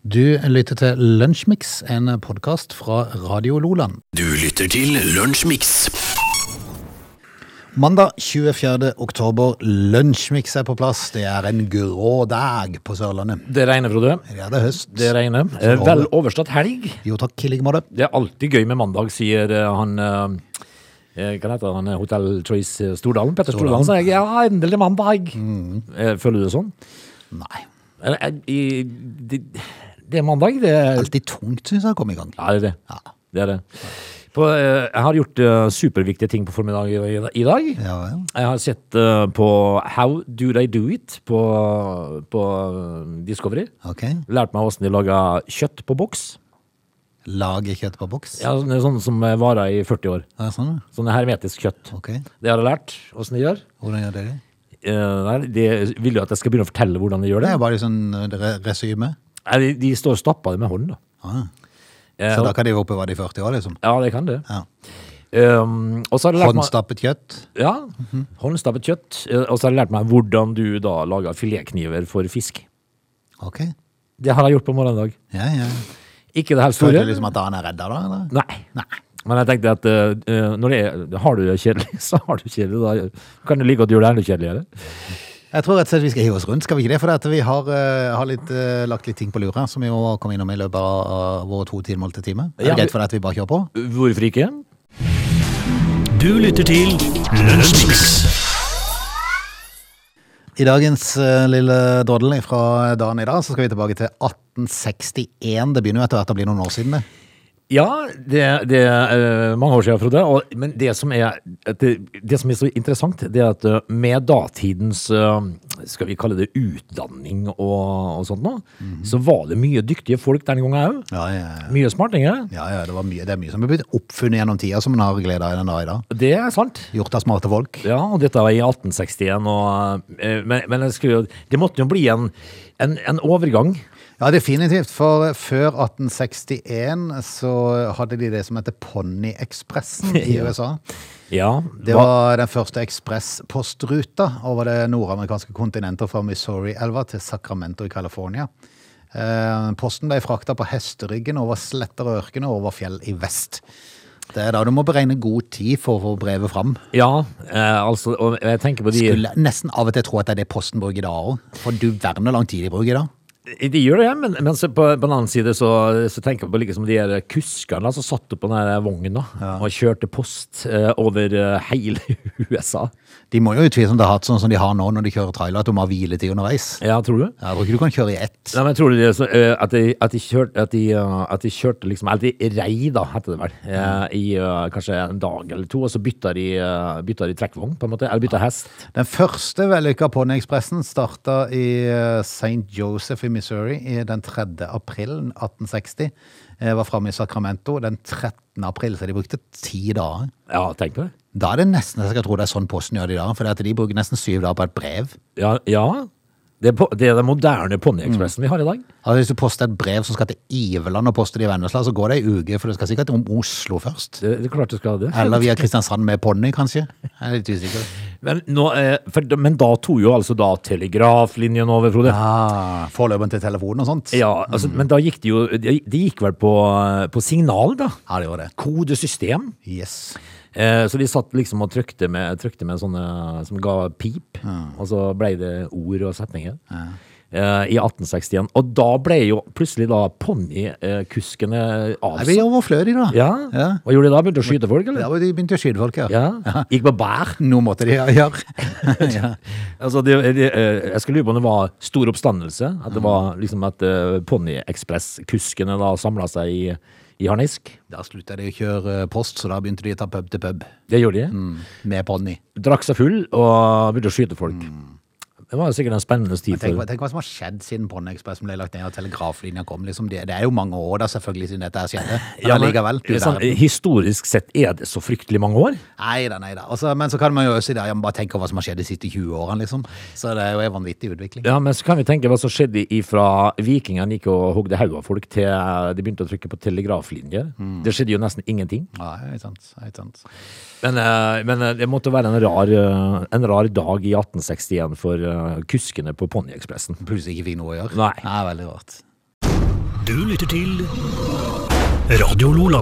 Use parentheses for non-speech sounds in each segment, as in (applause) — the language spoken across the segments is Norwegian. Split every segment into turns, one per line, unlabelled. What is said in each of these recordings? Du lytter til Lunsjmix, en podkast fra Radio Loland.
Du lytter til Lunsjmix.
Mandag 24. oktober, Lunsjmix er på plass. Det er en grå dag på Sørlandet.
Det regner, Frode.
Ja, det er høst.
Det regner. Eh, Vel overstått helg.
Jo takk, i like måte.
Det er alltid gøy med mandag, sier eh, han eh, eh, Hva heter han? eh, Hotel Choice eh, Stordalen? Petter Stordalen sier ja, endelig mandag. Eh, Føler du det sånn?
Nei.
Eh, eh, i- Det det er mandag. Det er
Alltid tungt, syns jeg, å komme i gang.
ja, det. Er det. det, er det. På, eh, jeg har gjort eh, superviktige ting på formiddagen i, i dag.
Ja, ja.
Jeg har sett eh, på How Do They Do It på, på eh, Discovery.
Ok.
Lært meg åssen de lager kjøtt på boks.
Lag kjøtt på boks.
Ja, sånn- sånn som eh, varer i 40 år.
Ja, sånn, ja.
Sånn hermetisk kjøtt.
Ok.
Det har jeg lært åssen de gjør.
Hvordan gjør dere det?
Eh, nei, de vil jo at jeg skal begynne å fortelle hvordan de gjør
Det
det.
er bare sånn eh, re resyme.
Nei, De, de står og stapper det med hånden. da.
Ah.
Eh,
Så da kan de være oppe i hva de 40 år, liksom.
Ja, det kan det.
Ja.
Um, og så har jeg lært meg
Håndstappet kjøtt.
ja,
Mhm.
håndstappet kjøtt. Eh, Og så har jeg lært meg hvordan du da lager filetkniver for fisk.
Ok.
Det har jeg gjort på morgendag.
Ja, ja.
Ikke det helt
Føler
store.
du liksom at dagen er redda, da? Eller?
Nei.
Nei.
Men jeg tenkte at eh, eh, når det er, har du det kjedelig, (laughs) så har du det kjedelig. Da kan du like godt gjøre det enda kjedeligere.
Jeg tror rett og slett vi skal hive oss rundt, skal vi ikke det? For at vi har, eh, har litt, eh, lagt litt ting på lura, som vi jo kom innom i løpet av våre to timer til time. Er det
Ja, vi-
greit for deg at vi bare kjører på?
Hvorfor ikke?
Du lytter til Lunsjmix.
I dagens eh, lille doddel fra dagen i dag, så skal vi tilbake til 1861. Det begynner jo etter hvert å bli noen år siden, det.
Ja, det, det er eh, mange år siden, Frode. Og, men det som, er, at det, det som er så interessant, det er at eh, med datidens eh, skal vi kalle det utdanning og, og sånt nå,
Mhm.
så var det mye dyktige folk den gangen òg.
Ja, ja, ja.
Mye smartinger.
ja, ja det, var mye, det er mye som er blitt oppfunnet gjennom tida, som en har glede av i den dag i dag.
Det er sant.
Gjort av smarte folk.
Ja, og dette var i 1861. Og, eh, men men jeg skulle, jo- det måtte jo bli en, en, en overgang.
Ja, definitivt. For før 1861 så hadde de det som heter Ponny-ekspressen i
(laughs) Ja.
USA.
Ja,
Det var den første ekspresspostruta over det nordamerikanske kontinentet fra Missouri-elva til Sacramento i California. Eh, Posten ble frakta på hesteryggen over sletter og ørkener og over fjell i vest. Det er da du må beregne god tid for å få brevet fram.
ja eh, altså, og jeg tenker på de
Skulle nesten av og til tro at det er det Posten bruker i dag òg, for du verden hvor lang tid de bruker i dag.
De gjør Eh, det, men, men så på, på den annen side så, så tenker jeg på liksom de her kuskene som satt opp på den her vognen da, og kjørte post eh, over eh, hele (laughs) USA.
De må jo utvilsomt ha hatt sånn som de har nå når de kjører trailer, at du må ha hviletid underveis.
Ja, tror du?
Jeg tror ikke du kan kjøre i ett.
Nei, men tror du det, er så, eh, at, de, at, de kjørte, at, de, eh, at de kjørte liksom, eller de rei da, heter det vel, eh, i eh, kanskje en dag eller to, og så bytta de, eh, bytta de trekkvogn på en måte, eller bytta hest.
Den første vellykka Ponyekspressen starta i eh, St. Joseph i Missouri i den 3. april 1860. Eh, Var framme i Sacramento den 13. april, så de brukte ti dager.
Ja, tenk på det.
Da er det nesten jeg skal tro det er sånn Posten gjør det i dag, for de bruker nesten syv dager på et brev.
Ja, ja. Det, er på- det er den moderne ponyekspressen vi har i dag.
Altså Hvis du poster et brev som skal til Iveland og poster det i Vennesla, så går det ei uke, for det skal sikkert om Oslo først.
Det, det er klart du skal ha det.
Eller via Kristiansand med ponni, kanskje. Jeg er litt usikker.
Men, nå, eh, for, da- men da tog jo altså da telegraflinjen over, Frode. Ja,
Ah, Forløperen til telefonen og sånt?
altså, Men da gikk det jo De, de gikk vel på, eh, på signal, da.
Ja, det gjorde det.
Kodesystem.
Yes.
Eh, så de satt liksom og trykte med, trykte med sånne som ga pip, og så ble det ord og setninger. Eh, I 1861. Og da ble jo plutselig da eh, ponnikuskene
Nei, vi
avsatt.
er overflødige, da.
Ja.
ja.
Hva gjorde de da? Begynte å skyte folk,
Ja,
eller?
men de begynte å skyte folk, ja.
Ja. Gikk på bær.
Nå måtte de gjøre. ja.
Altså, det, det, eh, jeg skulle lure på om det var stor oppstandelse. At det
Mm.
var liksom at uh, Ponnyekspress-kuskene da samla seg i, i harnisk.
Da slutta de å kjøre post, så da begynte de å ta pub til pub
Det gjorde
Mm.
de.
med ponni.
Drakk seg full og begynte å skyte folk. Det var sikkert en spennende tid.
Mm. Tenk,
For.
hva- tenk hva som har skjedd siden Ponniekspressen ble lagt ned og telegraflinja kom. Liksom. Det, det er jo mange år da, selvfølgelig, siden dette her skjedde. Men
Ja, men,
allikevel. du
eh, sånn,
verden.
historisk sett er det så fryktelig mange år.
Nei da, nei da. Og så- men så kan man jo også si det, ja, men bare tenke over hva som har skjedd de siste 20 årene, liksom. Så det er jo en vanvittig utvikling.
Ja, Men så kan vi tenke hva som skjedde ifra vikingene gikk og hogde hodet av folk, til de begynte å trykke på telegraflinjer.
Mm.
Det skjedde jo nesten ingenting.
Ja, ikke sant. ikke sant.
Men, eh, men eh, det måtte være en rar, eh, en rar dag i 1861 for eh, kuskene på Ponyekspressen.
Plutselig ikke fikk noe å gjøre.
Nei.
Nei veldig rart.
Du lytter til Radio Lola.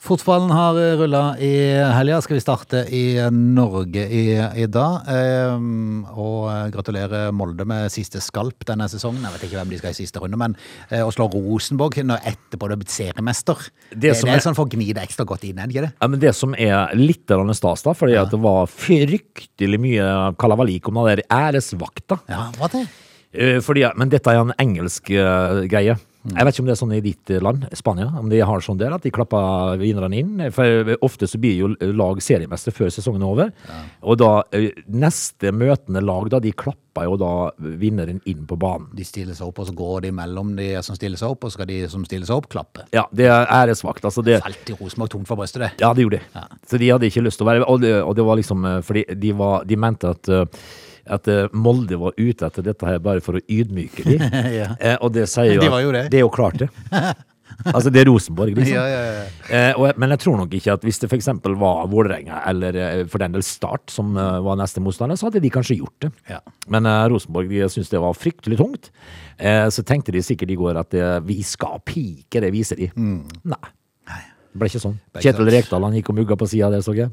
Fotballen har rulla i helga. Skal vi starte i Norge i, i dag? Ehm, og gratulerer Molde med siste skalp denne sesongen. Jeg vet ikke hvem de skal i siste runde, men eh, å slå Rosenborg når etterpå du er blitt seriemester Det, det,
som
er
er-
sånn for å gni det ekstra godt inn, er det ikke det?
Ja, men det som er litt grann stas, da, fordi at det var fryktelig mye kalavalik om den der æresvakta.
Ja, hva det?
Eh, Fordi, men dette er en engelsk eh, greie. Jeg vet ikke om det er sånn i ditt eh, land, Spania, om de har sånn der at de klapper vinnerne inn. For eh, ofte så blir jo lag seriemester før sesongen er over. Og da eh, neste møtende lag, da, de klapper jo da vinneren inn på banen.
De stiller seg opp, og så går de mellom de som stiller seg opp, og så skal de som stiller seg opp, klappe.
Ja, det er æresvakt. Altså det,
Falt i Rosenborg tomt for brystet, det.
Ja, det gjorde de. Så de hadde ikke lyst til å være Og det, og det var liksom eh, fordi de, var, de mente at eh, at eh, Molde var ute etter dette her bare for å ydmyke dem.
(laughs) Ja.
Og det sier jo
De
at-
var jo det.
Det er jo
(laughs)
klart, det. Altså, det er Rosenborg, liksom.
Ja, ja, ja.
Eh, og, jeg- men jeg tror nok ikke at hvis det f.eks. var Vålerenga eller eh, for den del Start som eh, var neste motstander, så hadde de kanskje gjort det.
Ja.
Men eh, Rosenborg de syntes det var fryktelig tungt. Eh, så tenkte de sikkert i går at eh, vi skal pike, det viser de. Mm. Nei. Det ble ikke sånn.
Ble ikke
Kjetil
sant.
Rekdal han gikk og mugga på sida der, så jeg.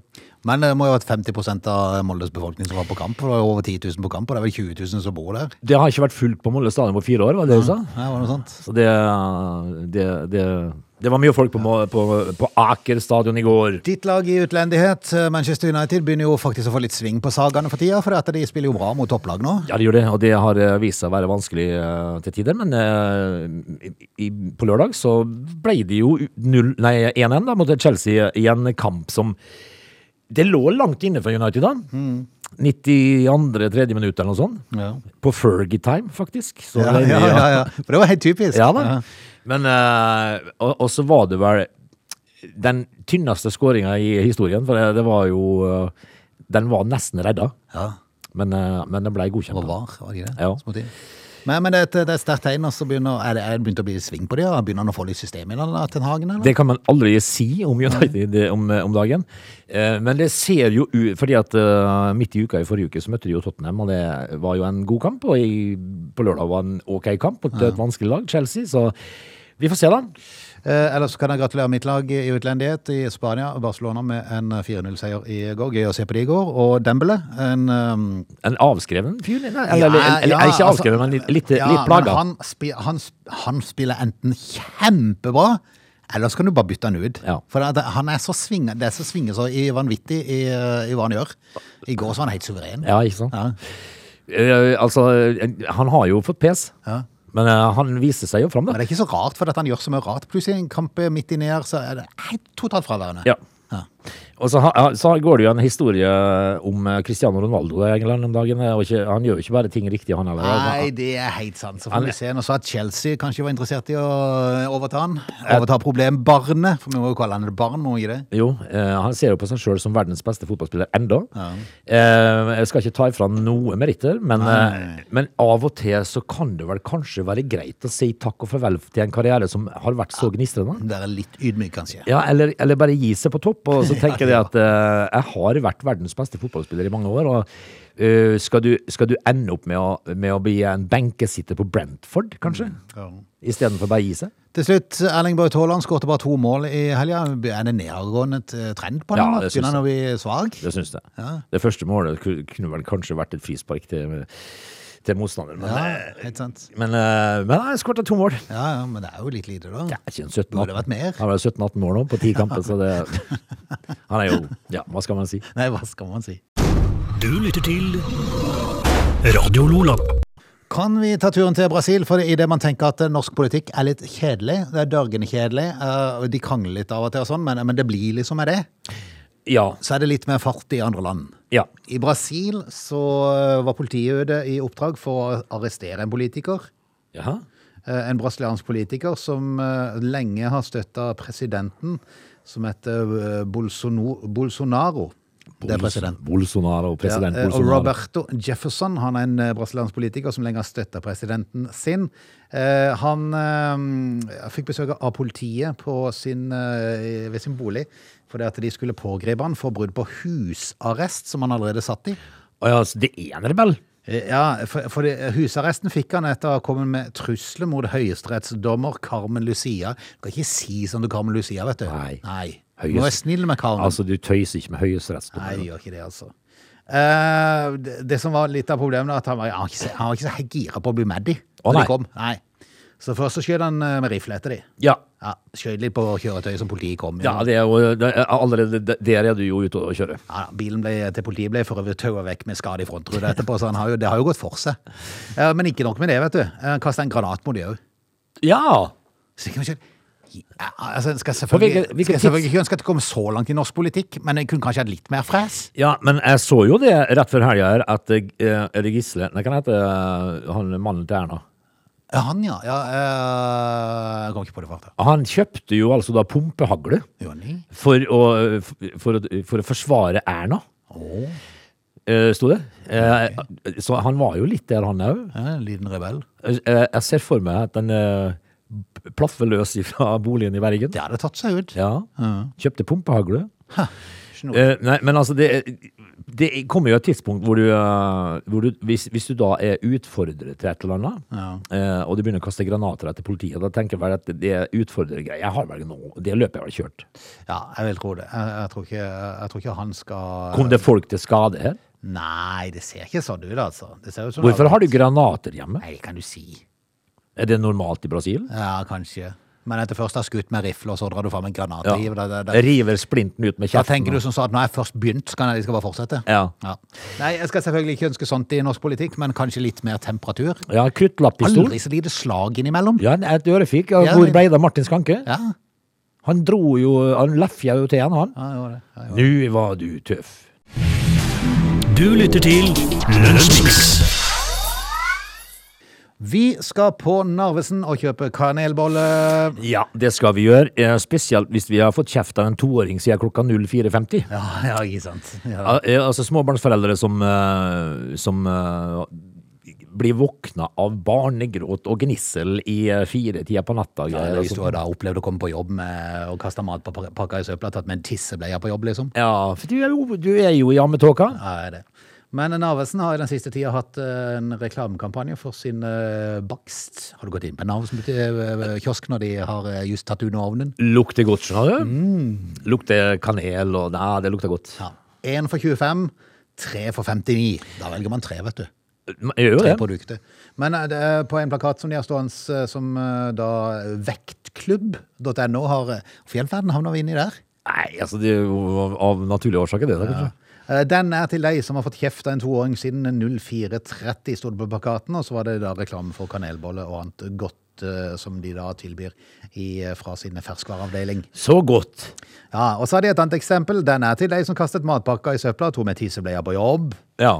Men det må jo ha vært 50 av Moldes befolkning som var på kamp. For det var jo over 10 000 på kamp, og det er vel 20 000 som bor der.
Det har ikke vært fullt på Molde stadion på fire år, var det du sa?
Ja, var det noe sånt?
Så det, eh, det, det, det var mye folk på, Mo- på, på Aker stadion i går.
Ditt lag i utlendighet, eh, Manchester United, begynner jo faktisk å få litt sving på sagene for tida, for at de spiller jo bra mot topplag nå.
Ja, det gjør det, og det har eh, vist seg å være vanskelig eh, til tider, men eh, i, i- på lørdag så ble det jo u- null- nei, 1-1 da, mot Chelsea i en kamp som Det lå langt inne for United da. 92.-3. minutt eller noe sånt.
Mm. Ja.
På Fergie-time, faktisk. Så
Ja,
det-
ja, ja, ja. For det var helt typisk.
ja da. Men, eh, og, og så var det vel den tynneste skåringa i historien, for det, det var jo eh, Den var nesten redda,
Ja.
men, eh, men den ble
Det var
godkjent.
var, var det ikke det?
Ja.
Små ting. Men, men det er et, det er et sterkt tegn, og så begynner er det, er det begynt å bli sving på det, ja. begynner han å få litt system i den da, Ten Hagen, eller?
Det kan man aldri si om United om, om dagen. Eh, Men det ser jo ut Fordi at eh, midt i uka i forrige uke så møtte de jo Tottenham, og det var jo en god kamp. Og i, på lørdag var en ok kamp mot et vanskelig lag, Chelsea, så vi får se, da.
Eh, ellers kan jeg gratulere mitt lag i utlendighet i Spania, Barcelona, med en eh, 4-0-seier i går. Gøy å se på det i går. Og Dembele, en eh,
En avskreven fyr? Eller, eller, eller,
Ja, ja,
ikke
altså-
avskreven, men litt, litt,
Ja,
litt plaga.
men Han, spi, han, sp- han spiller enten kjempebra, eller så kan du bare bytte han ut.
Ja.
For det, han er så svinge, det er så svinge så i vanvittig i, i hva han gjør. I går så var han helt suveren.
Ja, ikke sant?
Ja.
Eh, altså, eh, han har jo fått pes,
Ja.
men eh, han viser seg jo fram,
Men
da.
det er ikke så rart, for at han gjør så mye rart. Plutselig i en kamp midt inni her, så er det helt totalt fraværende.
Ja.
Ja.
Og så, ha- ja, så går det jo en historie om eh, Cristiano Ronaldo i England om dagen. eh, Og ikke, han gjør jo ikke bare ting riktig, han heller.
Nei, det er helt sant. Så får vi se. Nå sa at Chelsea kanskje var interessert i å overta han. Overta problembarnet, for vi må jo kalle han et barn, må vi ikke det?
Jo, eh, han ser jo på seg sjøl som verdens beste fotballspiller enda. Eh, jeg skal ikke ta ifra han noe meritter, men, eh, men av og til så kan det vel kanskje være greit å si takk og farvel til en karriere som har vært så gnistrende.
Det er litt ydmyk, kanskje.
Ja, eller, eller bare gi seg på topp, og så (laughs) tenker jeg at eh, jeg har vært verdens beste fotballspiller i mange år, og eh, skal, du, skal du ende opp med å, med å bli en benkesitter på Brentford, kanskje?
Ja.
Istedenfor bare gi seg?
Til slutt, Erling Braut Haaland skåret bare to mål i helga. Er det nedadgående eh, trend på den?
Ja,
nå?
det syns
Begynner han å bli svak?
Det syns jeg. Det første målet ku- kunne vel kanskje vært et frispark til, til motstanderen, men,
Ja,
eh,
helt sant.
men, eh, men jeg skåret to mål.
Ja, ja, men det er jo litt lite,
Det
da.
er ikke en 17
Burde vært mer.
Han er 17-18 år nå, på ti kamper, så det (laughs) Han er jo Ja, hva skal man si?
Nei, hva skal man si?
Du lytter til Radio Lola.
Kan vi ta turen til Brasil? For idet man tenker at eh, norsk politikk er litt kjedelig, det er dørgende kjedelig, eh, og de krangler litt av og til og sånn, men, men det blir liksom med det,
Ja.
så er det litt mer fart i andre land.
Ja.
I Brasil så eh, var politiet ute i oppdrag for å arrestere en politiker.
Jaha.
Eh, En brasiliansk politiker som eh, lenge har støtta presidenten, som heter eh, Bolsono, Bolsonaro. Det er president.
Bolsonaro,
Ja,
president
eh, og
Bolsonaro.
Roberto Jefferson han er en eh, brasiliansk politiker som lenge har støtta presidenten sin. Eh, Han eh, fikk besøk av politiet på sin, eh, ved sin bolig fordi at de skulle pågripe han for brudd på husarrest, som han allerede satt i.
Å ja, så det er en rebell?
Eh, Ja, for, for det, Husarresten fikk han etter å ha kommet med trusler mot høyesterettsdommer Carmen Lucia. Du kan ikke si sånn du Carmen Lucia, vet du.
Nei.
Nei. Må være snill med Carmen.
Altså, du tøyser ikke med
Nei,
høyesterettsdommer.
jeg gjør ikke det, altså. Eh, det, det som var litt av problemet, er at han var, han var ikke så, han var ikke så gira på å bli med de.
Å,
når
nei.
de kom. Nei. Så først så skjøt han eh, med rifle etter de.
Ja.
Ja, skjøt litt på kjøretøyet som politiet kom.
Ja, det er jo det er allerede det- Der er du jo ute og kjører.
Ja, da, bilen ble, til politiet ble for øvrig taua vekk med skade i frontruta etterpå, så han har jo, det har jo gått for seg. Eh, men ikke nok med det, vet du. Eh, Han kasta en granat mot de òg.
Ja!
Så kan vi ikke- ja, altså, en skal
hvilket-
selvfølgelig,
hvilket
skal jeg
tids-
selvfølgelig ikke ønske at det kom så langt i norsk politikk, men jeg kunne kanskje hatt litt mer fres.
Ja, men jeg så jo det rett før helga her, at eh, Er det Gisle Nei, hva heter eh, han mannen til Erna?
Ja, Han, ja. ja eh, jeg kom ikke på det i farta.
Han kjøpte jo altså da pumpehagle
Jonny?
for å, for, å, for å forsvare Erna,
Å,
eh, sto det. Eh, Så han var jo litt der, han òg.
ja, en liten rebell.
Jeg ser for meg at den eh, plaffer løs fra boligen i Bergen.
Det hadde tatt seg ut.
Ja. Kjøpte pumpehagle.
Snor.
Eh, nei, men altså, det, det kommer jo et tidspunkt hvor du, eh, hvor du hvis, hvis du da er utfordret til et eller annet, eh, og du begynner å kaste granater etter politiet, da tenker jeg vel at det er utfordrergreier. Jeg har vel noe, det løpet jeg har kjørt.
Ja, jeg vil tro det. Jeg, jeg, tror ikke, jeg tror ikke han skal
Kom det folk til skade her?
Nei, det ser ikke sånn ut, altså. Det ser ut som
Hvorfor har du granater hjemme?
Nei, kan du si.
Er det normalt i Brasil?
Ja, kanskje. Men etter først å ha skutt med rifle, og så drar du fram en granat
Ja.
i. Da, da, da,
River splinten ut med
da
kjeften?
tenker du som så at når jeg først begynt, så kan jeg, jeg skal bare fortsette.
Ja.
Nei, jeg skal selvfølgelig ikke ønske sånt i norsk politikk, men kanskje litt mer temperatur.
Ja, kruttlappistol.
Aldri så lite slag innimellom.
Ja, et øre fikk. Ja,
Ja,
hvor
det-
ble det av Martin Skanke?
Ja,
Han dro jo, han lefja jo til han, han.
ja det var det. Ja,
Nå var du tøff.
Du lytter til Lunsjmix.
Vi skal på Narvesen og kjøpe kanelbolle.
Ja, det skal vi gjøre. eh, Spesielt hvis vi har fått kjeft av en toåring siden klokka 04.50.
Ja, ja, ikke sant. Ja.
Al- eh, Altså småbarnsforeldre som, eh, som eh, blir våkna av barnegråt og gnissel i eh, firetida på natta.
Ja,
greier altså. og
Hvis du
sånt.
har da opplevd å komme på jobb med å kaste mat på pak- pakka i søpla, tatt med en tissebleie på jobb, liksom.
Ja, for du er jo, du er jo i ammetåka.
Ja, er det. Men Narvesen har i den siste tida hatt eh, en reklamekampanje for sin eh, bakst. Har du gått inn på en Narvesen-kiosk når de har eh, just tatt unna ovnen?
Lukter godt, skjønner du. Lukter kanel og Nei, det lukter godt.
Mm. Ja. Én for 25, tre for 59. Da velger man tre, vet du.
Jeg
Tre
gjør jo det.
produkter. Men eh, det er på en plakat som de har stående, eh, som eh, da vektklubb.no har eh, Fjellferden havner vi inni der.
Nei, altså det er jo av, av naturlige årsaker, det. da, kanskje.
Eh, Den er til deg som har fått kjeft av en toåring siden 0430 stod det på plakaten, og så var det da reklame for kanelbolle og annet godt eh, som de da tilbyr i, eh, fra sin ferskvareavdeling.
Så godt.
Ja, og så har de et annet eksempel. Den er til deg som kastet matpakka i søpla og tok med tissebleier på jobb.
Ja.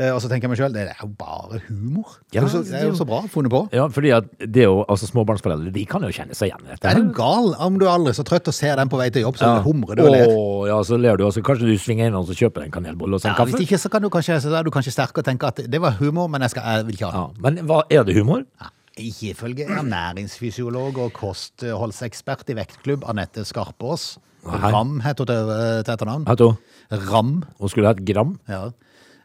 Eh, Og så tenker jeg meg sjøl, det er jo bare humor. det,
Ja,
er jo så, det er jo så bra funnet på.
Ja, fordi at det er jo, altså småbarnsforeldre de kan jo kjenne seg igjen i dette.
Er
her.
du gal om du er aldri så trøtt og ser den på vei til jobb, så humrer du og ler?
Åh, ja, så ler du, og så kanskje du svinger innom og kjøper en kanelbolle og sånn
Ja, hvis
kaffe.
ikke, så, kan du kanskje, så er du kanskje sterk og tenker at det var humor, men jeg, skal, jeg vil ikke ha det.
Ja, men hva, er det humor?
Ja, Ikke ifølge ernæringsfysiolog og kostholdsekspert i vektklubb Anette Skarpaas.
Nei.
Ram heter hun til til etternavn.
Vet du,
Ram.
hun skulle hatt gram.
Ja.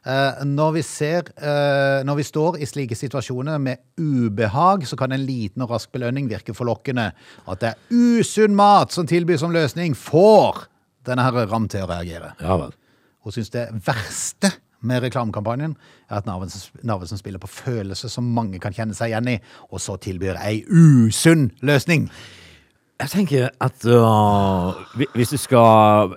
Eh, Når vi, ser, eh, når vi står i slike situasjoner med ubehag, så kan en liten og rask belønning virke forlokkende. At det er usunn mat som tilbys som løsning, får denne her Ram til å reagere.
Ja vel.
Hun syns det verste med reklamekampanjen er at Narvesen, Narvesen spiller på følelser som mange kan kjenne seg igjen i, og så tilbyr ei usunn løsning.
Jeg tenker at øh, hvi- hvis du skal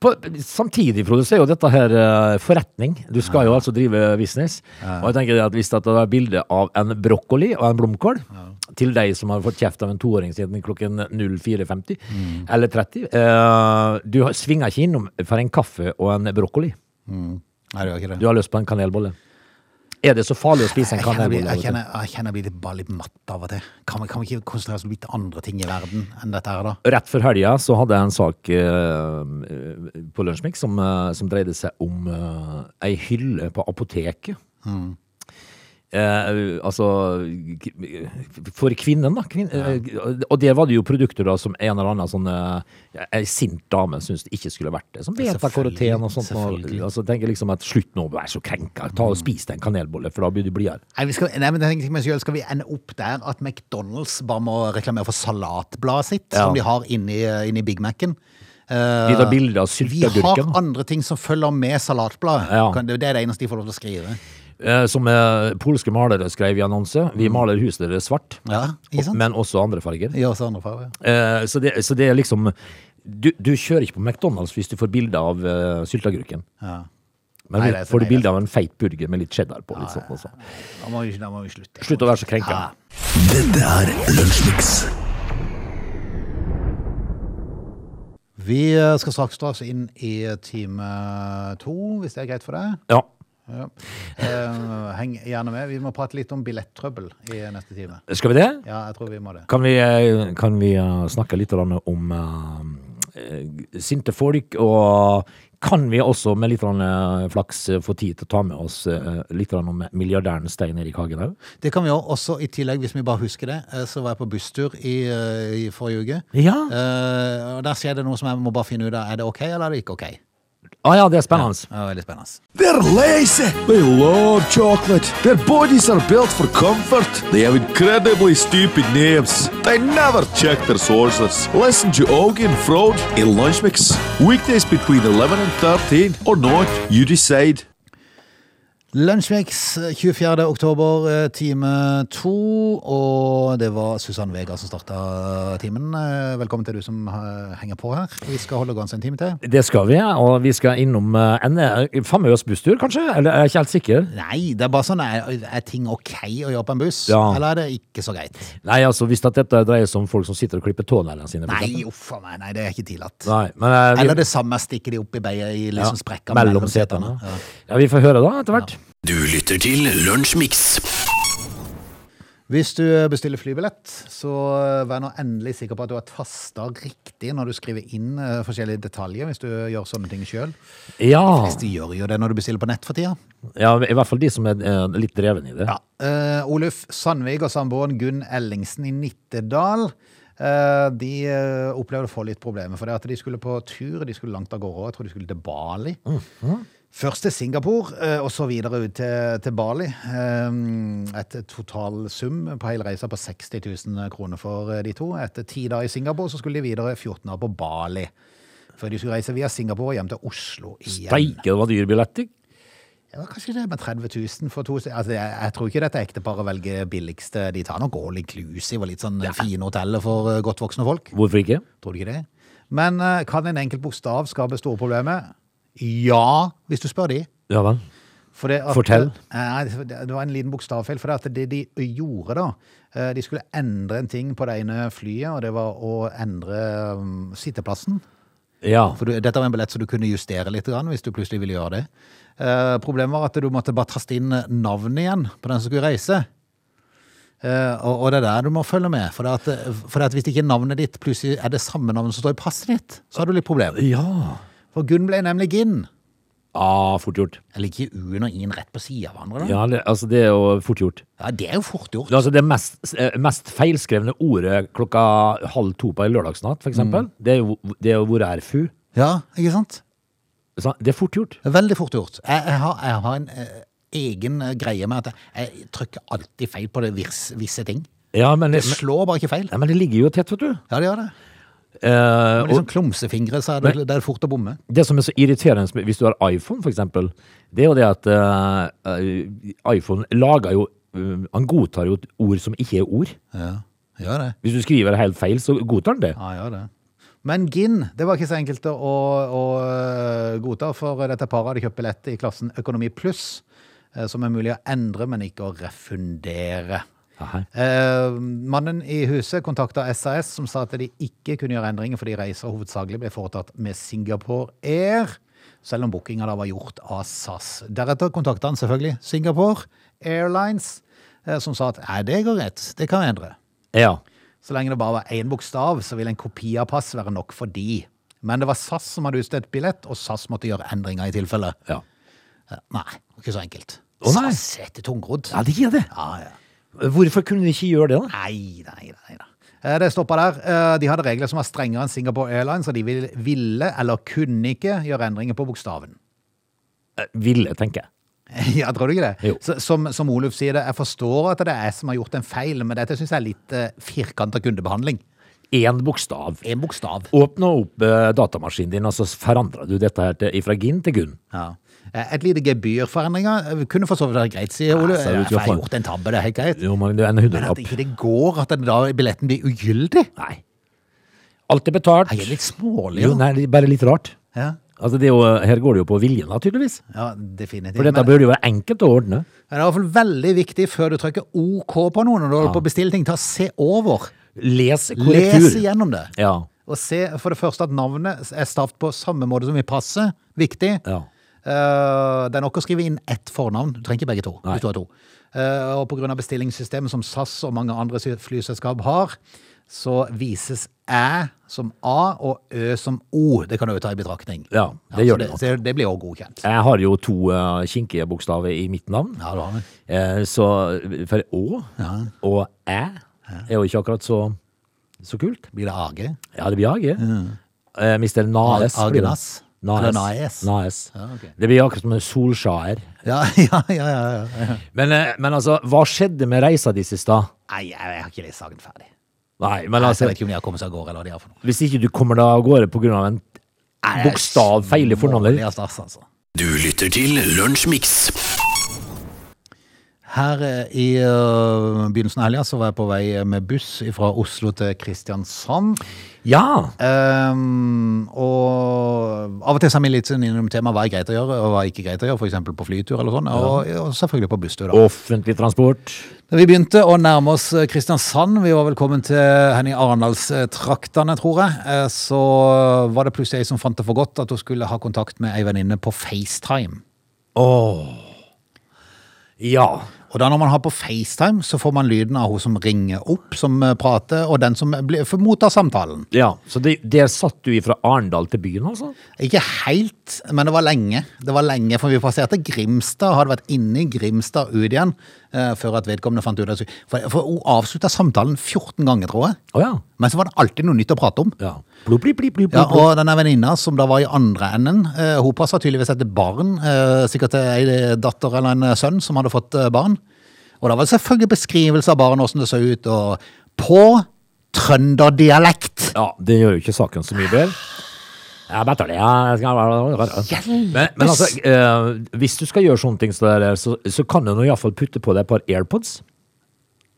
på, Samtidig, Frode, så er jo dette her øh, forretning. Du skal jo altså drive business. Og jeg tenker det at hvis det er bilde av en brokkoli og en blomkål til deg som har fått kjeft av en toåring siden klokken 04.50
Mm.
eller 30 øh, Du har- svinger ikke innom for en kaffe og en brokkoli.
Nei, det gjør ikke
Du
det.
har lyst på en kanelbolle. Er det så farlig å spise en
Jeg kjenner, jeg, blir-
kanelbolle?
jeg,
av og til?
kjenner, jeg kjenner jeg blir litt- bare litt matt av og til. Kan vi, kan vi ikke konsentrere oss om litt andre ting i verden enn dette her, da?
Rett før helga så hadde jeg en sak eh, på Lunsjmix som,
Mm.
eh, som dreide seg om eh, ei hylle på apoteket. eh, altså k- For kvinnen, da. Kvinn, eh, og der var det jo produkter da som en eller annen sånn eh, ei sint dame syntes det ikke skulle vært det. Som beta-karoten og sånt. Og,
Selvfølgelig. Mm.
altså, tenker liksom at Slutt nå, vær så krenka. Ta og Spis deg en kanelbolle, for da blir du blidere.
Nei, vi skal, nei, men jeg tenker meg selv, skal vi ende opp der at McDonald's bare må reklamere for salatbladet sitt,
Ja.
som de har inni, eh, inni Big Mac-en?
De tar bilder av
Eh, Vi har
sylteagurken. da.
andre ting som følger med salatbladet.
Ja.
Kan- Det det er det eneste de får lov til å skrive.
Eh, Som eh, polske malere skrev i annonse.
Mm.
Vi maler huset deres svart,
Ja, ikke sant?
men også andre farger.
Gjør også andre farger. ja.
Eh, så, det, så det er liksom du, du kjører ikke på McDonald's hvis du får bilde av uh, sylteagurken.
Ja.
Men
Nei, det er altså. for
får du
meg,
bilde av en feit burger med litt cheddar på. Litt sånn, og sånn.
Da må vi, da må vi slutte.
Slutt å være så krenka.
Ja.
Dette er Lunsjmix.
Vi eh, skal straks dra oss inn i eh, time to, hvis det er greit for deg.
Ja.
Ja. Eh, heng gjerne med. Vi må prate litt om billetttrøbbel i neste time.
Skal vi det?
Ja, jeg tror vi må det.
Kan vi, eh, kan vi eh, snakke litt grann om eh, eh, sinte folk? Og kan vi også med litt grann, eh, flaks eh, få tid til å ta med oss eh, litt grann om milliardæren Stein Erik Hagen òg?
Det kan vi gjøre. Også i tillegg, hvis vi bare husker det, eh, så var jeg på busstur i, eh, i forrige uke.
Ja.
Eh, og Der skjer det noe som jeg må bare finne ut av. Er det OK, eller er det ikke OK? Det
Ah, ja, det er spennende.
var veldig spennende.
They're lazy. They love chocolate. Their bodies are built for comfort. They have incredibly stupid names. They never check their sources. Listen to Augie and Frode in Lunch Mix. Weekdays between 11 and 13 or not, you decide.
Lunsjmix 24. oktober, eh, time to. Og det var Susann Vega som starta timen. Eh, Velkommen til du som eh, henger på her. Vi skal holde gående en time til.
Det skal vi, og vi skal innom eh, en eh, famøs busstur, kanskje? Eller jeg er ikke helt sikker.
Nei, det er bare sånn Er, er ting OK å gjøre på en buss,
Ja.
eller er det ikke så greit?
Nei, altså, hvis at dette dreier seg om folk som sitter og klipper tåneglene sine. for
Nei,
eksempel.
uff a meg, nei, det er ikke tillatt.
Nei, men eh, vi,
Eller det samme stikker de opp i beier i liksom sprekker
mellom setene. Ja. vi får høre da, etter hvert.
Du lytter til Lunsjmix.
Hvis du bestiller flybillett, så vær nå endelig sikker på at du har tasta riktig når du skriver inn eh, forskjellige detaljer, hvis du gjør sånne ting sjøl.
Ja.
Hvis de gjør jo det når du bestiller på nett for tida.
ja, i hvert fall de som er eh, litt dreven i det.
Eh, Oluf Sandvik og samboeren Gunn Ellingsen i Nittedal eh, de eh, opplevde å få litt problemer for det. At de skulle på tur, de skulle langt av gårde. Jeg tror de skulle til Bali. Først til Singapore, eh, og så videre ut til, til Bali. Eh, Et totalsum på hele reisa på 60 000 kroner for eh, de to. Etter ti dager i Singapore så skulle de videre 14 dager på Bali. Før de skulle reise via Singapore og hjem til Oslo igjen.
Steike, det var dyr billett. ikke?
Ja, kanskje det med 30 000 for to altså, jeg, jeg tror ikke dette ekteparet velger billigste. De tar nok all inclusive og litt sånn fine hoteller for eh, godt voksne folk.
Hvorfor ikke?
Tror du ikke det? Men eh, kan en enkelt bokstav skape store problemer? Ja, hvis du spør de.
Ja vel.
For det at- Eh,
Fortell.
Nei, det var en liten bokstavfeil. For det, at det de gjorde da, eh, de skulle endre en ting på det ene flyet, og det var å endre um, sitteplassen.
Ja.
For du, dette var en billett som du kunne justere litt grann, hvis du plutselig ville gjøre det. Eh, problemet var at du måtte bare taste inn navnet igjen på den som skulle reise. Eh, og, og det er der du må følge med. For, det at, for det at hvis ikke navnet ditt plutselig er det samme navnet som står i passet ditt, så har du litt problemer.
Ja.
For Gunn ble nemlig Ginn.
Ah, fort gjort.
Eller ikke U-en og I-en rett på sida av hverandre. Da.
Ja, det, altså, det er jo fort gjort.
Ja, det er jo fort gjort.
Altså det mest, eh, mest feilskrevne ordet klokka halv to på en lørdagsnatt, for eksempel, det er jo det er jo 'hvor er fu'.
Ja, ikke sant?
Så Det er fort gjort.
Det er Veldig fort gjort. Jeg, jeg, har, jeg har en eh, egen eh, greie med at jeg, jeg trykker alltid feil på det vis, visse ting.
Ja, men det,
Det slår bare ikke feil.
nei, men det ligger jo tett, vet du.
Ja, det gjør det.
Eh,
Men liksom klumsefingre, så er det, det er fort å bomme.
og det som er så irriterende som- hvis du har iPhone, for eksempel, det er jo det at eh, iPhone lager jo eh, Han godtar jo ord som ikke er ord.
Ja, gjør det.
Hvis du skriver helt feil, så godtar han det.
Ja, gjør det. Men gin, det var ikke så enkelt å, å øh, godta, for dette paret hadde kjøpt billett i klassen Økonomi pluss, eh, som er mulig å endre, men ikke å refundere.
Aha.
Eh, mannen i huset kontakta SAS, som sa at de ikke kunne gjøre endringer fordi reiser hovedsakelig ble foretatt med Singapore Air, selv om bookinga da var gjort av SAS. Deretter kontakta han selvfølgelig Singapore Airlines, eh, som sa at nei, det går greit, det kan vi endre.
Ja.
Så lenge det bare var én bokstav, så ville en kopi av pass være nok for de. Men det var SAS som hadde utstedt billett, og SAS måtte gjøre endringer i tilfelle.
ja.
Eh, Nei, ikke så enkelt.
Å, nei.
SAS er til tungrodd.
Ja, det er det.
Ja, ja.
Hvorfor kunne de ikke gjøre det, da?
Nei, nei, nei. nei. Eh, Det stoppa der. Eh, De hadde regler som var strengere enn Singapore Airlines, og de vil- ville eller kunne ikke gjøre endringer på bokstaven. (laughs)
Eh, Ville, tenker jeg.
Ja, tror du ikke
Jo.
det? Så, som, som Oluf sier det, jeg forstår at det er jeg som har gjort en feil, men dette syns jeg er litt uh, firkanta kundebehandling.
Én bokstav.
En bokstav.
Åpna opp eh, datamaskinen din, og så forandra du dette her til, fra Gin til Gunn.
Ja. Eh, Et lite gebyr for endringer eh, kunne for så vidt vært greit, sier Oluf.
ser
Ja,
det ut
for
til å
jeg har
få-
gjort en tabbe, det er helt greit.
Jo, men det er en
Men
hundrelapp.
at ikke det går, at den da billetten blir ugyldig,
Nei. Alt er betalt.
er litt smålig.
Jo,
da.
nei, det er bare litt rart.
Ja.
Altså, det er jo, her går det jo på viljen, da, tydeligvis.
ja, definitivt.
For
Men-
dette burde jo være enkelt å ordne.
Det er i hvert fall veldig viktig før du trykker OK på noe når du holder på å bestille ting. Ta og Se over.
Les korrektur.
Les gjennom det.
Ja.
Og se for det første at navnet er stavt på samme måte som i passet. Viktig.
ja.
Eh, det er nok å skrive inn ett fornavn. Du trenger ikke begge to.
Nei.
Hvis du har to. Eh, og pga. bestillingssystemet som SAS og mange andre sy- flyselskap har, så vises æ som a og ø som o. Det kan du jo ta i betraktning.
Ja, det
så
gjør det nok.
så det blir òg godkjent.
Jeg har jo to eh, kinkige bokstaver i mitt navn.
Ja, du har det.
Eh, så for å og æ er jo ikke akkurat så, så kult.
Blir det AG?
Ja, det blir AG. Eh, Mister Naes.
Ag-
blir det.
Agnas? Eller Naes? Ja, ok.
Det blir akkurat som en Solskjær.
Ja, (laughs) ja, ja. ja, ja.
Men, eh, men altså, hva skjedde med reisa di sist, da?
Nei, jeg, jeg har ikke lest saken ferdig.
Nei, men
Jeg
altså,
vet ikke om de har kommet seg av gårde, eller hva de har for noe.
hvis ikke du kommer deg av gårde på grunn av en bokstav feil i fornavnet ditt
Smålig av stas, altså.
Du lytter til Lunsjmix.
Her eh, i eh, begynnelsen av helga så var jeg på vei eh, med buss fra Oslo til Kristiansand.
Ja!
Ehm, og av og til så er vi litt sånn innom temaet hva er greit å gjøre, og hva er ikke greit å gjøre, f.eks. på flytur eller sånn, og, og selvfølgelig på busstur. da.
Offentlig transport.
Da vi begynte å nærme oss eh, Kristiansand, vi var velkommen til henne i Arendalstraktene, tror jeg, eh, så var det plutselig ei som fant det for godt at hun skulle ha kontakt med ei venninne på FaceTime.
Åh. Ja.
Og da når man har på FaceTime, så får man lyden av hun som ringer opp, som eh, prater, og den som blir, for- mottar samtalen.
ja. Så det, der satt du ifra Arendal til byen, altså?
Ikke helt, men det var lenge. Det var lenge, For vi passerte Grimstad, hadde vært inne i Grimstad og ut igjen, eh, før at vedkommende fant ut at For, for hun avslutta samtalen 14 ganger, tror jeg.
Å ja.
Men så var det alltid noe nytt å prate om.
ja. Blub, blub, blub, blub,
Ja,
blub.
og denne venninna som da var i andre enden, eh, hun passa tydeligvis etter barn. eh, sikkert til ei datter eller en eh, sønn som hadde fått eh, barn. Og da var det selvfølgelig beskrivelse av barn, åssen det så ut, og på trønderdialekt!
ja. Det gjør jo ikke saken så mye bedre. Jeg betaler, jeg skal
Hjelpes!
men, men altså, eh, hvis du skal gjøre sånne ting, så, der, så, så kan du nå iallfall putte på deg et par AirPods.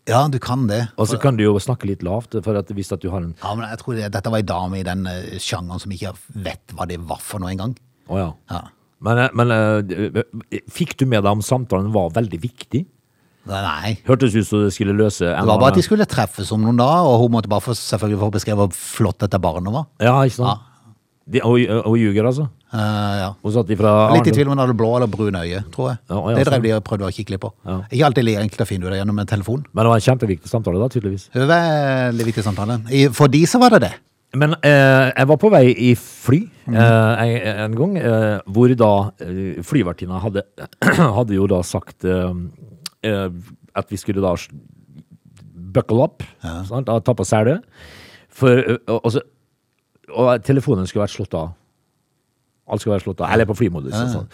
Ja, du kan det.
Og så kan du jo snakke litt lavt, for at hvis at du har en
Ja, men jeg tror det, Dette var ei dame i den eh, sjangeren som ikke vet hva det var for noe engang.
Å ja.
Ja.
Men, eh, men eh, fikk du med deg om samtalen var veldig viktig?
Nei.
Hørtes ut som det skulle løse en
Det var bare at de
annen-
skulle treffes om noen dager, og hun måtte bare få, selvfølgelig få beskrevet hvor flott dette barnet var.
Ja, ikke sant? De, og, og ljuger, altså?
Eh, ja.
Hun satt ifra
Jeg er Litt i
Arendal.
tvil om han hadde blå eller brune øye, tror jeg.
Ja, ja,
det
sånn.
drev de og prøvde å kikke litt på. Ikke alltid like enkelt å finne ut det gjennom en telefon.
Men det var en kjempeviktig samtale, da, tydeligvis.
Veldig viktig samtale. I- For de så var det det.
Men eh, jeg var på vei i fly eh, en, en gang, eh, hvor da eh, flyvertinna hadde, (clears throat) hadde jo da sagt eh, eh, at vi skulle da s- buckle up, sant? da ta på selet. For, eh, og, og så- og telefonen skulle vært slått av. Alt skulle være slått av, eller på flymodus. og sånn.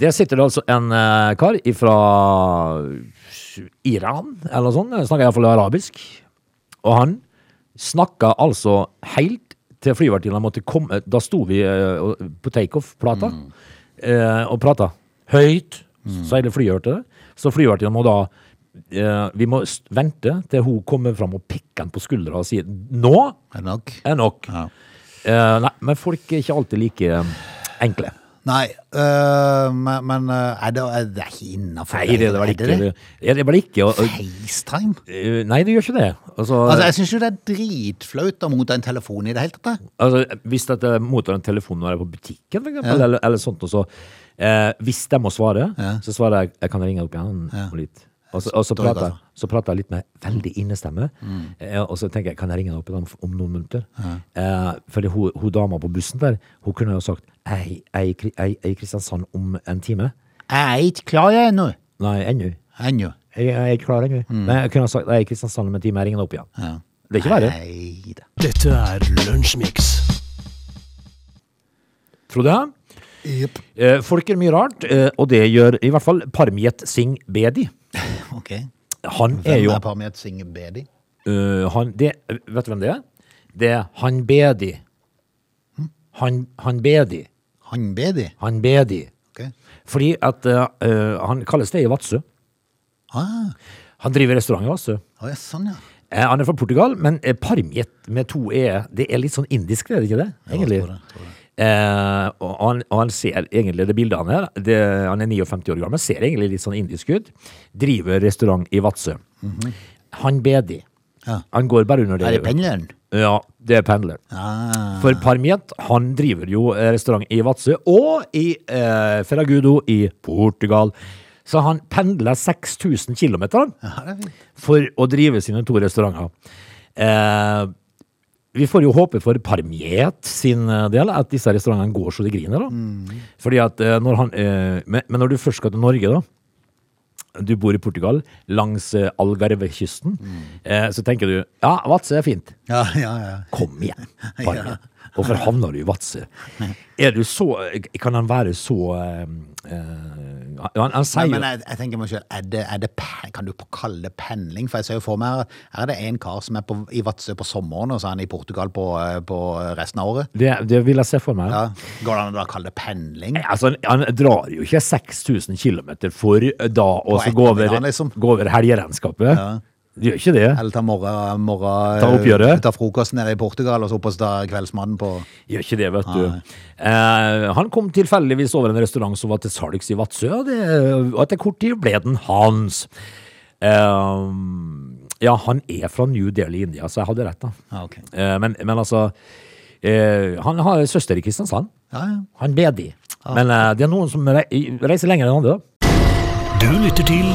Der sitter det altså en eh, kar fra Iran, eller noe sånt, snakker iallfall arabisk. Og han snakka altså helt til flyvertinna måtte komme Da sto vi eh, og- på takeoff-plata eh, og prata høyt, så hele flyet hørte det. Så flyvertinna må da eh, Vi må s- vente til hun kommer fram og pikker han på skuldra og sier 'Nå
Er det nok?
er nok'.
Ja.
Eh, nei, men folk er ikke alltid like eh, enkle.
Nei, øh, men, men øh, er det, er det ikke innafor?
Nei, det, det var ikke det. Ja, det var ikke og, og,
FaceTime?
eh, Nei, det gjør ikke det. Altså,
Altså,
altså,
jeg syns jo det er dritflaut å motta en telefon i det hele tatt. jeg.
Altså, hvis at jeg mottar en telefon når jeg er på butikken, for eksempel, eller, eller sånt, og så eh, Hvis jeg må svare, så svarer jeg Jeg kan ringe opp igjen om litt. Og så, og så,
Står det Mm.
prater, jeg- så prater jeg litt med veldig innestemme, eh, og så tenker jeg kan jeg ringe deg opp igjen om, om noen minutter? Eh, fordi hun, hun dama på bussen der, hun kunne jo sagt Jeg jeg er i Kri- jeg- jeg er i Kristiansand om en time.
Jeg er ikke klar jeg ennå.
Nei, ennå.
Ennå.
Jeg, jeg er ikke klar ennå. Nei, jeg kunne ha sagt jeg er i Kristiansand om en time, jeg ringer deg opp igjen.
Mm. Ja.
Det er ikke verre.
Nei da.
Dette er Lunsjmix.
Frode? Eh, Folk gjør mye rart, eh, og det gjør i hvert fall Parmjet Singh Bedi.
Ok.
Han er
Hvem
jo
er Parmiet Singh Bedi?
eh, han, det, Vet du hvem det er? Det er Han Bedi.
Hm?
Han, han Bedi.
Han Bedi?
Han Bedi.
Ok.
Fordi at eh, eh, han kalles det i Vadsø.
Ah,
Han driver restaurant i Vadsø.
å, ja, sånn, ja.
Eh, Han er fra Portugal, men eh, parmjet med to e, det er litt sånn indisk, er det ikke det? Egentlig.
tror det, tror
Eh, og, han, og han ser egentlig det bildet han er, det, han er 59 år gammel, ser egentlig litt sånn indisk ut. Driver restaurant i Vadsø. Han bedi.
Mhm. Ja.
Han går bare under det.
Er det pendleren?
Ja, det er pendler.
Ah,
For Parmjet, han driver jo eh, restaurant i Vadsø og i eh, Ferragudo i Portugal. Så han pendler 6000 km, han
ja, det er fint.
for å drive sine to restauranter. Eh, vi får jo håpe for Parmiet sin eh, del at disse restaurantene går så de griner. da.
Mm.
Fordi at eh, når han, eh, men, men når du først skal til Norge, da. Du bor i Portugal, langs eh, Algarvekysten.
Mm.
Eh, så tenker du ja, Vadsø er fint.
Ja, ja, ja.
Kom
(laughs)
igjen, Parmiet. Hvorfor havner du i Vadsø? Er du så eh, Kan han være så eh, eh, han, han
Nei,
sier jo
men jeg, jeg tenker meg selv, er det, er det, pe- kan du kalle det pendling? For jeg ser jo for meg her, her er det en kar som er på, i Vadsø på sommeren, og så er han i Portugal på, eh, på resten av året.
det, det vil jeg se for meg.
Ja. Går det an å da kalle det pendling?
Nei, Altså, han, han drar jo ikke 6000 km for eh, da å så gå over,
ettermiddagen, liksom.
gå over helgeregnskapet. Det gjør ikke det.
Eller ta morgen, morgen
Ta oppgjøret?
Ta frokosten nede i Portugal, og så opp og ta kveldsmannen på
Gjør ikke det, vet du. Eh, han kom tilfeldigvis over en restaurant som var til salgs i Vadsø, og, det, og etter kort tid ble den hans. Eh, ja, han er fra New Delhi, India, så jeg hadde rett, da.
Ja, ok.
Eh, men, men altså eh, Han har en søster i Kristiansand.
Ja, ja.
Han ber de. Men eh, det er noen som rei- reiser lenger enn andre, da.
Du lytter til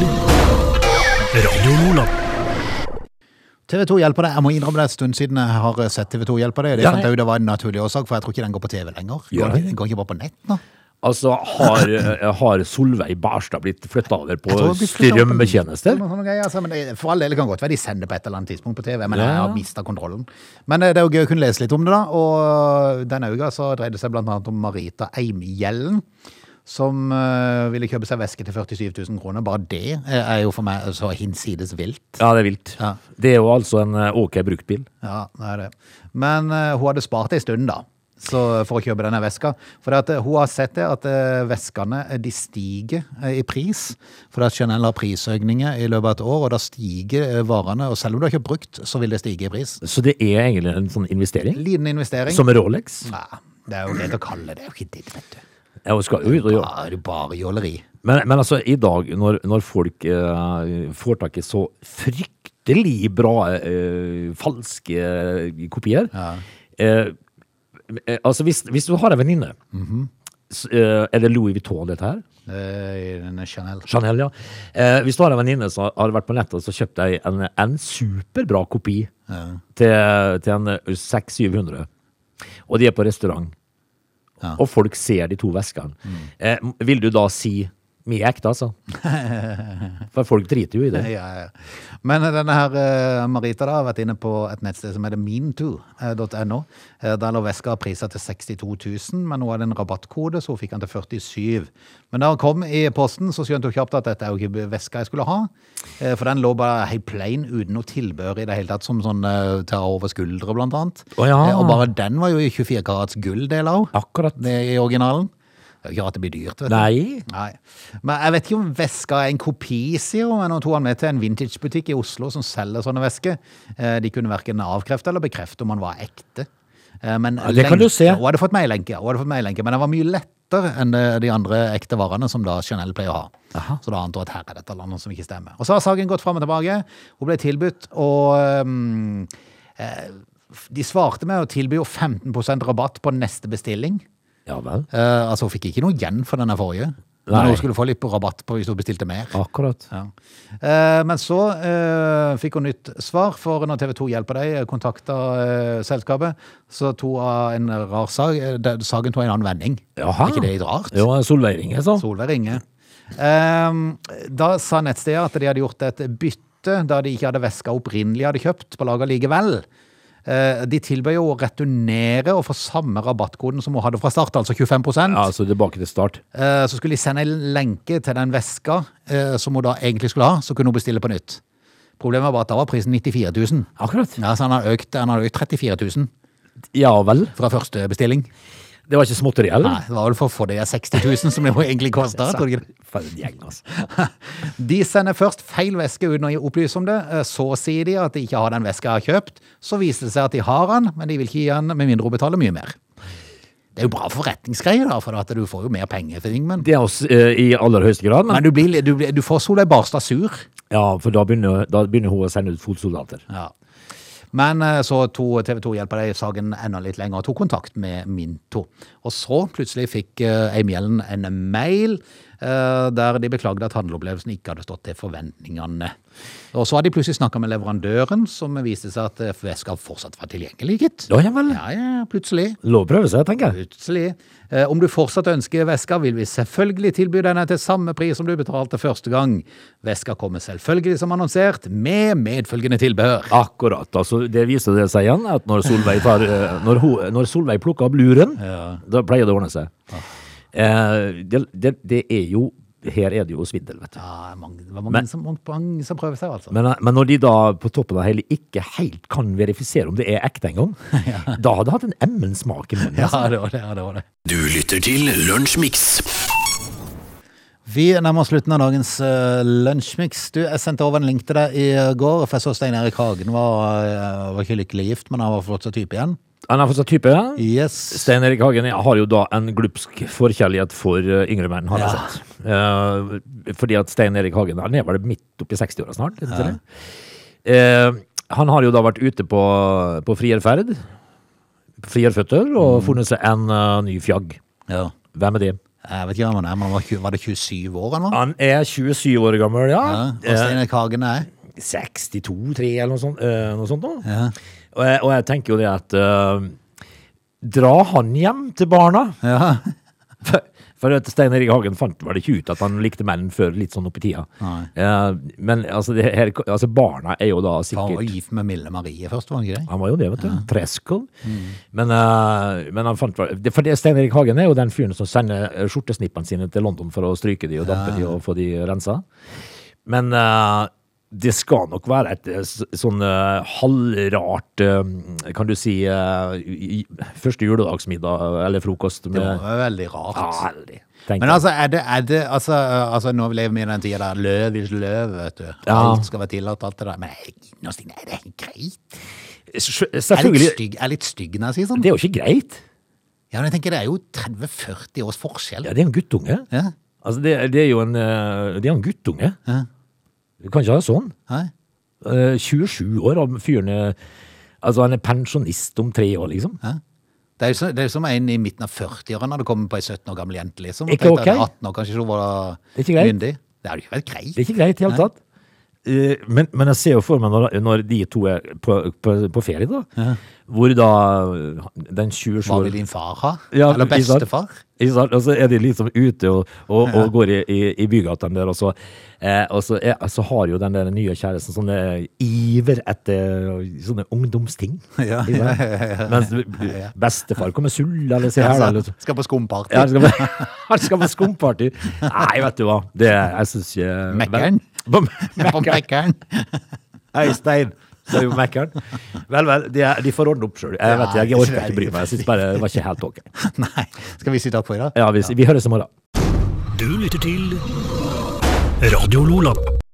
Radio Nordland.
TV 2 hjelper deg. Jeg må innrømme det er en stund siden jeg har sett TV 2 hjelper deg. Det
Ja,
fant
nei.
jeg ut det var en naturlig årsak, for jeg tror ikke den går på TV lenger. Går,
Gjør
den
den?
ikke- går ikke bare på nett nå?
Altså, har, eh, har Solveig Barstad blitt flytta over på
Jeg tror det blir flyttet opp på nett eller
strømmetjenester?
noe sånt greier, altså, Men det, for all del det kan godt være de sender på et eller annet tidspunkt på TV, men
Ja.
jeg har mista kontrollen. Men eh, det er jo gøy å kunne lese litt om det, da. Og eh, denne uka så dreide det seg blant annet om Marita Eimgjellen. Som eh, ville kjøpe seg veske til 47 000 kroner. Bare det eh, er jo for meg så hinsides vilt.
Ja, det er vilt.
Ja.
Det er jo altså en eh, OK bruktbil.
Ja, det er det. Men eh, hun hadde spart en stund da, så, for å kjøpe denne veska. For at, eh, hun har sett det at eh, veskene eh, de stiger eh, i pris. For at Chanel har prisøkninger i løpet av et år, og da stiger eh, varene. Og selv om du har kjøpt brukt, så vil det stige i pris.
Så det er egentlig en sånn investering?
Liten investering.
Som Rolex?
Ja, det er jo greit å kalle det. Det er jo ikke digg, vet du.
Ja, hun skal jo ut og gjøre
Da er det bare jåleri.
Men, men altså, i dag, når, når folk eh, får tak i så fryktelig bra eh, falske eh, kopier eh, eh, Altså, hvis, hvis du har en venninne
Mhm.
s- eh, Er det Louis Vuitton, dette her?
eh, i Denne Chanel.
Chanel, ja. Eh, hvis du har en venninne som har vært på nettet, så kjøpte jeg en, en superbra kopi til, til en eh, 600-700. Og de er på restaurant. Og folk ser de to veskene.
Mm.
Eh, m- vil du da si mye
(laughs)
ekte, altså? For folk driter jo i det.
Ja, ja. Men denne her eh, Marita da, har vært inne på et nettsted som heter meantoo.no. Eh, Der lå veska av priser til 62 000, men hun hadde en rabattkode, så hun fikk den til 47 Men da hun kom i posten, så skjønte hun kjapt at dette er jo ikke veska jeg skulle ha. eh, For den lå bare helt plain, uten noe tilbehør i det hele tatt, som sånn eh, ta over skuldre, blant annet.
Å ja.
Eh, Og bare den var jo i 24 karats gull, del av henne,
Akkurat.
det i originalen. Det er jo Ikke at det blir dyrt, vet du.
Nei.
Nei. Men jeg vet ikke om veska er en kopi, sier hun, men hun tok han med til en vintagebutikk i Oslo som selger sånne vesker. Eh, De kunne verken avkrefte eller bekrefte om han var ekte. Eh, Men
det kan
lenken-
du se.
Hun hadde fått meilenke, ja, hun hadde fått meilenke, men den var mye lettere enn eh, de andre ekte varene som da Chanel pleier å ha. Så da antar jeg at her er dette landet som ikke stemmer. Og så har saken gått fram og tilbake. Hun ble tilbudt å mm, eh, f- De svarte med å tilby henne 15 rabatt på neste bestilling.
Ja vel.
Eh, altså, hun fikk ikke noe igjen for denne forrige. Men
Nei.
hun skulle få litt på rabatt på hvis hun bestilte mer.
Akkurat.
Ja. Eh, men så eh, fikk hun nytt svar, for når TV 2 hjelper deg, kontakta eh, selskapet, så tok hun en rar sag. eh, den- Saken tok en annen vending.
Jaha.
Er ikke det litt rart?
Jo, Solveig ringer, så.
Solveig ringer. Ehm, Da sa nettstedet at de hadde gjort et bytte da de ikke hadde veska opprinnelig hadde kjøpt på lager likevel. Eh, De tilbød jo å returnere og få samme rabattkoden som hun hadde fra start, altså 25
Ja, så tilbake til start.
Eh, Så skulle de sende en lenke til den veska eh, som hun da egentlig skulle ha, så kunne hun bestille på nytt. Problemet var at da var prisen 94 000.
Akkurat.
Ja, så han har økt, han har økt 34 000
Ja vel.
fra første bestilling.
Det var ikke småtteri
Nei,
heller?
det var vel for å få de 60 000 som det jo egentlig kosta.
For en gjeng, altså.
De sender først feil veske uten å opplyse om det. Eh, Så sier de at de ikke har den veska jeg har kjøpt. Så viser det seg at de har den, men de vil ikke gi den med mindre hun betaler mye mer. Det er jo bra forretningsgreier, da, for at du får jo mer penger for ting, men
Det er oss eh, i aller høyeste grad, men
Men du, blir, du, blir, du får Solveig Barstad sur.
ja, for da begynner, da begynner hun å sende ut fotsoldater.
Ja. Men eh, så to TV 2 hjelper deg i saken enda litt lenger og tok kontakt med Minto. Og så plutselig fikk eh, Eim Gjellen en mail eh, der de beklagde at handelopplevelsen ikke hadde stått til forventningene. Og så hadde de plutselig snakka med leverandøren, som viste seg at eh, veska fortsatt var tilgjengelig, gitt.
Ja, ja vel.
Ja, ja, plutselig.
Lov å prøve seg, tenker jeg.
Plutselig. Eh, om du fortsatt ønsker veska, vil vi selvfølgelig tilby denne til samme pris som du betalte første gang. Veska kommer selvfølgelig som annonsert, med medfølgende tilbehør.
Akkurat. altså Det viser det seg igjen at når Solveig, tar, eh, når hun, når Solveig plukker opp luren, da pleier det å ordne seg. Eh, det, det, det er jo Her er det jo svindel, vet du.
Ja, mange, det var mange, som, mange, mange som prøver seg, altså.
Men, men når de da på toppen av det hele ikke helt kan verifisere om det er ekte (laughs) engang, da hadde det hatt en emmen smak i munnen.
(laughs) Ja, det var det. Ja, det, var det.
Du lytter til Lunsjmix.
Vi nærmer oss slutten av dagens uh, lunsjmix. Du, jeg sendte over en link til deg i går, for jeg så Stein Erik Hagen var, eh, var ikke lykkelig gift, men han var fortsatt type igjen.
Han er fortsatt type. ja.
Yes.
Stein Erik Hagen har jo da en glupsk forkjærlighet for eh, yngre menn, har jeg
Ja.
sett. Eh, fordi at Stein Erik Hagen han er vel midt oppi 60-åra snart? er det ikke det? Eh, han har jo da vært ute på, på frierferd, frierføtter,
Mm.
og funnet seg en eh, ny fjagg.
Ja.
Hvem er det?
Jeg vet ikke hvem han er, men han var, tjue- var det 27 år han var?
Han er 27 år gammel, ja.
Ah, Ja. Og Stein Erik Hagen er?
62-3 eller noe sånt. eh, noe sånt nå. Og, jeg, og jeg tenker jo det at eh, Dra han hjem til barna.
Ja.
(laughs) For, for at Stein Erik Hagen fant vel ikke ut at han likte menn før litt sånn opp i tida.
Nei.
Eh, men altså, det her, altså, barna er jo da
Han var
sikkert
gift Ah, med Mille Marie først, var han ikke det?
han var jo det, vet du. Presko.
Mm.
Men, eh, men han fant vel det- For det, Stein Erik Hagen er jo den fyren som sender eh, skjortesnippene sine til London for å stryke de og dampe de og få de rensa. Men eh, det skal nok være et eh, s- sånn eh, halvrart eh, Kan du si eh, i- i- første juledagsmiddag eh, eller frokost
Det
med
var veldig rart.
Ja, veldig. tenker
Men
jeg.
altså, er det, er det altså, øh, altså, nå lever vi i den tida der løv er løv, vet du.
Ja.
Alt skal være tillatt, alt det der. Men jeg- innerst inne er det helt greit.
Sj-
Jeg er litt
Selvfølgelig.
stygg, jeg er litt stygg når jeg sier sånn.
Det er jo ikke greit.
Ja, men jeg tenker det er jo 30-40 års forskjell.
Ja, det er en guttunge.
Ja.
Altså, det, det er jo en, eh, det er en guttunge.
Ja.
Du kan ikke ha det sånn.
Nei?
Eh, 27 år, og fyren er Altså, han er pensjonist om tre år, liksom.
Det er jo som, det er jo som en i midten av 40-årene hadde kommet på ei 17 år gammel jente, liksom.
Ikke
Tenkte at
ok?
18 år kanskje ikke hun var
Det er ikke greit.
myndig. Det hadde jo ikke vært greit.
Det er ikke greit i det hele tatt. Eh, Men, men jeg ser jo for meg når, når de to er på, på, på ferie, da. Hvor da eh, den 27
Hva vil
år-
din far ha?
Ja,
Eller
ikke sant?
bestefar?
Ikke sant? Og så er de liksom ute og, og, og går i, i, i bygatene der, og så, eh, og så, er, så har jo den der nye kjæresten sånn eh, iver etter sånne ungdomsting.
(laughs) Ja,
Ikke sant? Mens bestefar kommer sull, eller sier her, da. eller så-
Altså, Skal på skumparty.
Ja,
(laughs)
Han skal på, han (laughs) skal på skumparty. Nei, vet du hva. Det, jeg syns ikke
Mekkeren?
På
(laughs) På
Mekkeren.
Mekkeren.
Hei, Stein. Så er jo Mekkeren. Vel, vel. De, er- de får ordne opp sjøl. Jeg vet ikke, jeg orker ikke bry meg. Jeg synes bare det var ikke helt ok.
Nei. Skal vi si takk for i dag?
Ja, vi, vi høres i morgen.
Du lytter til Radio Lola.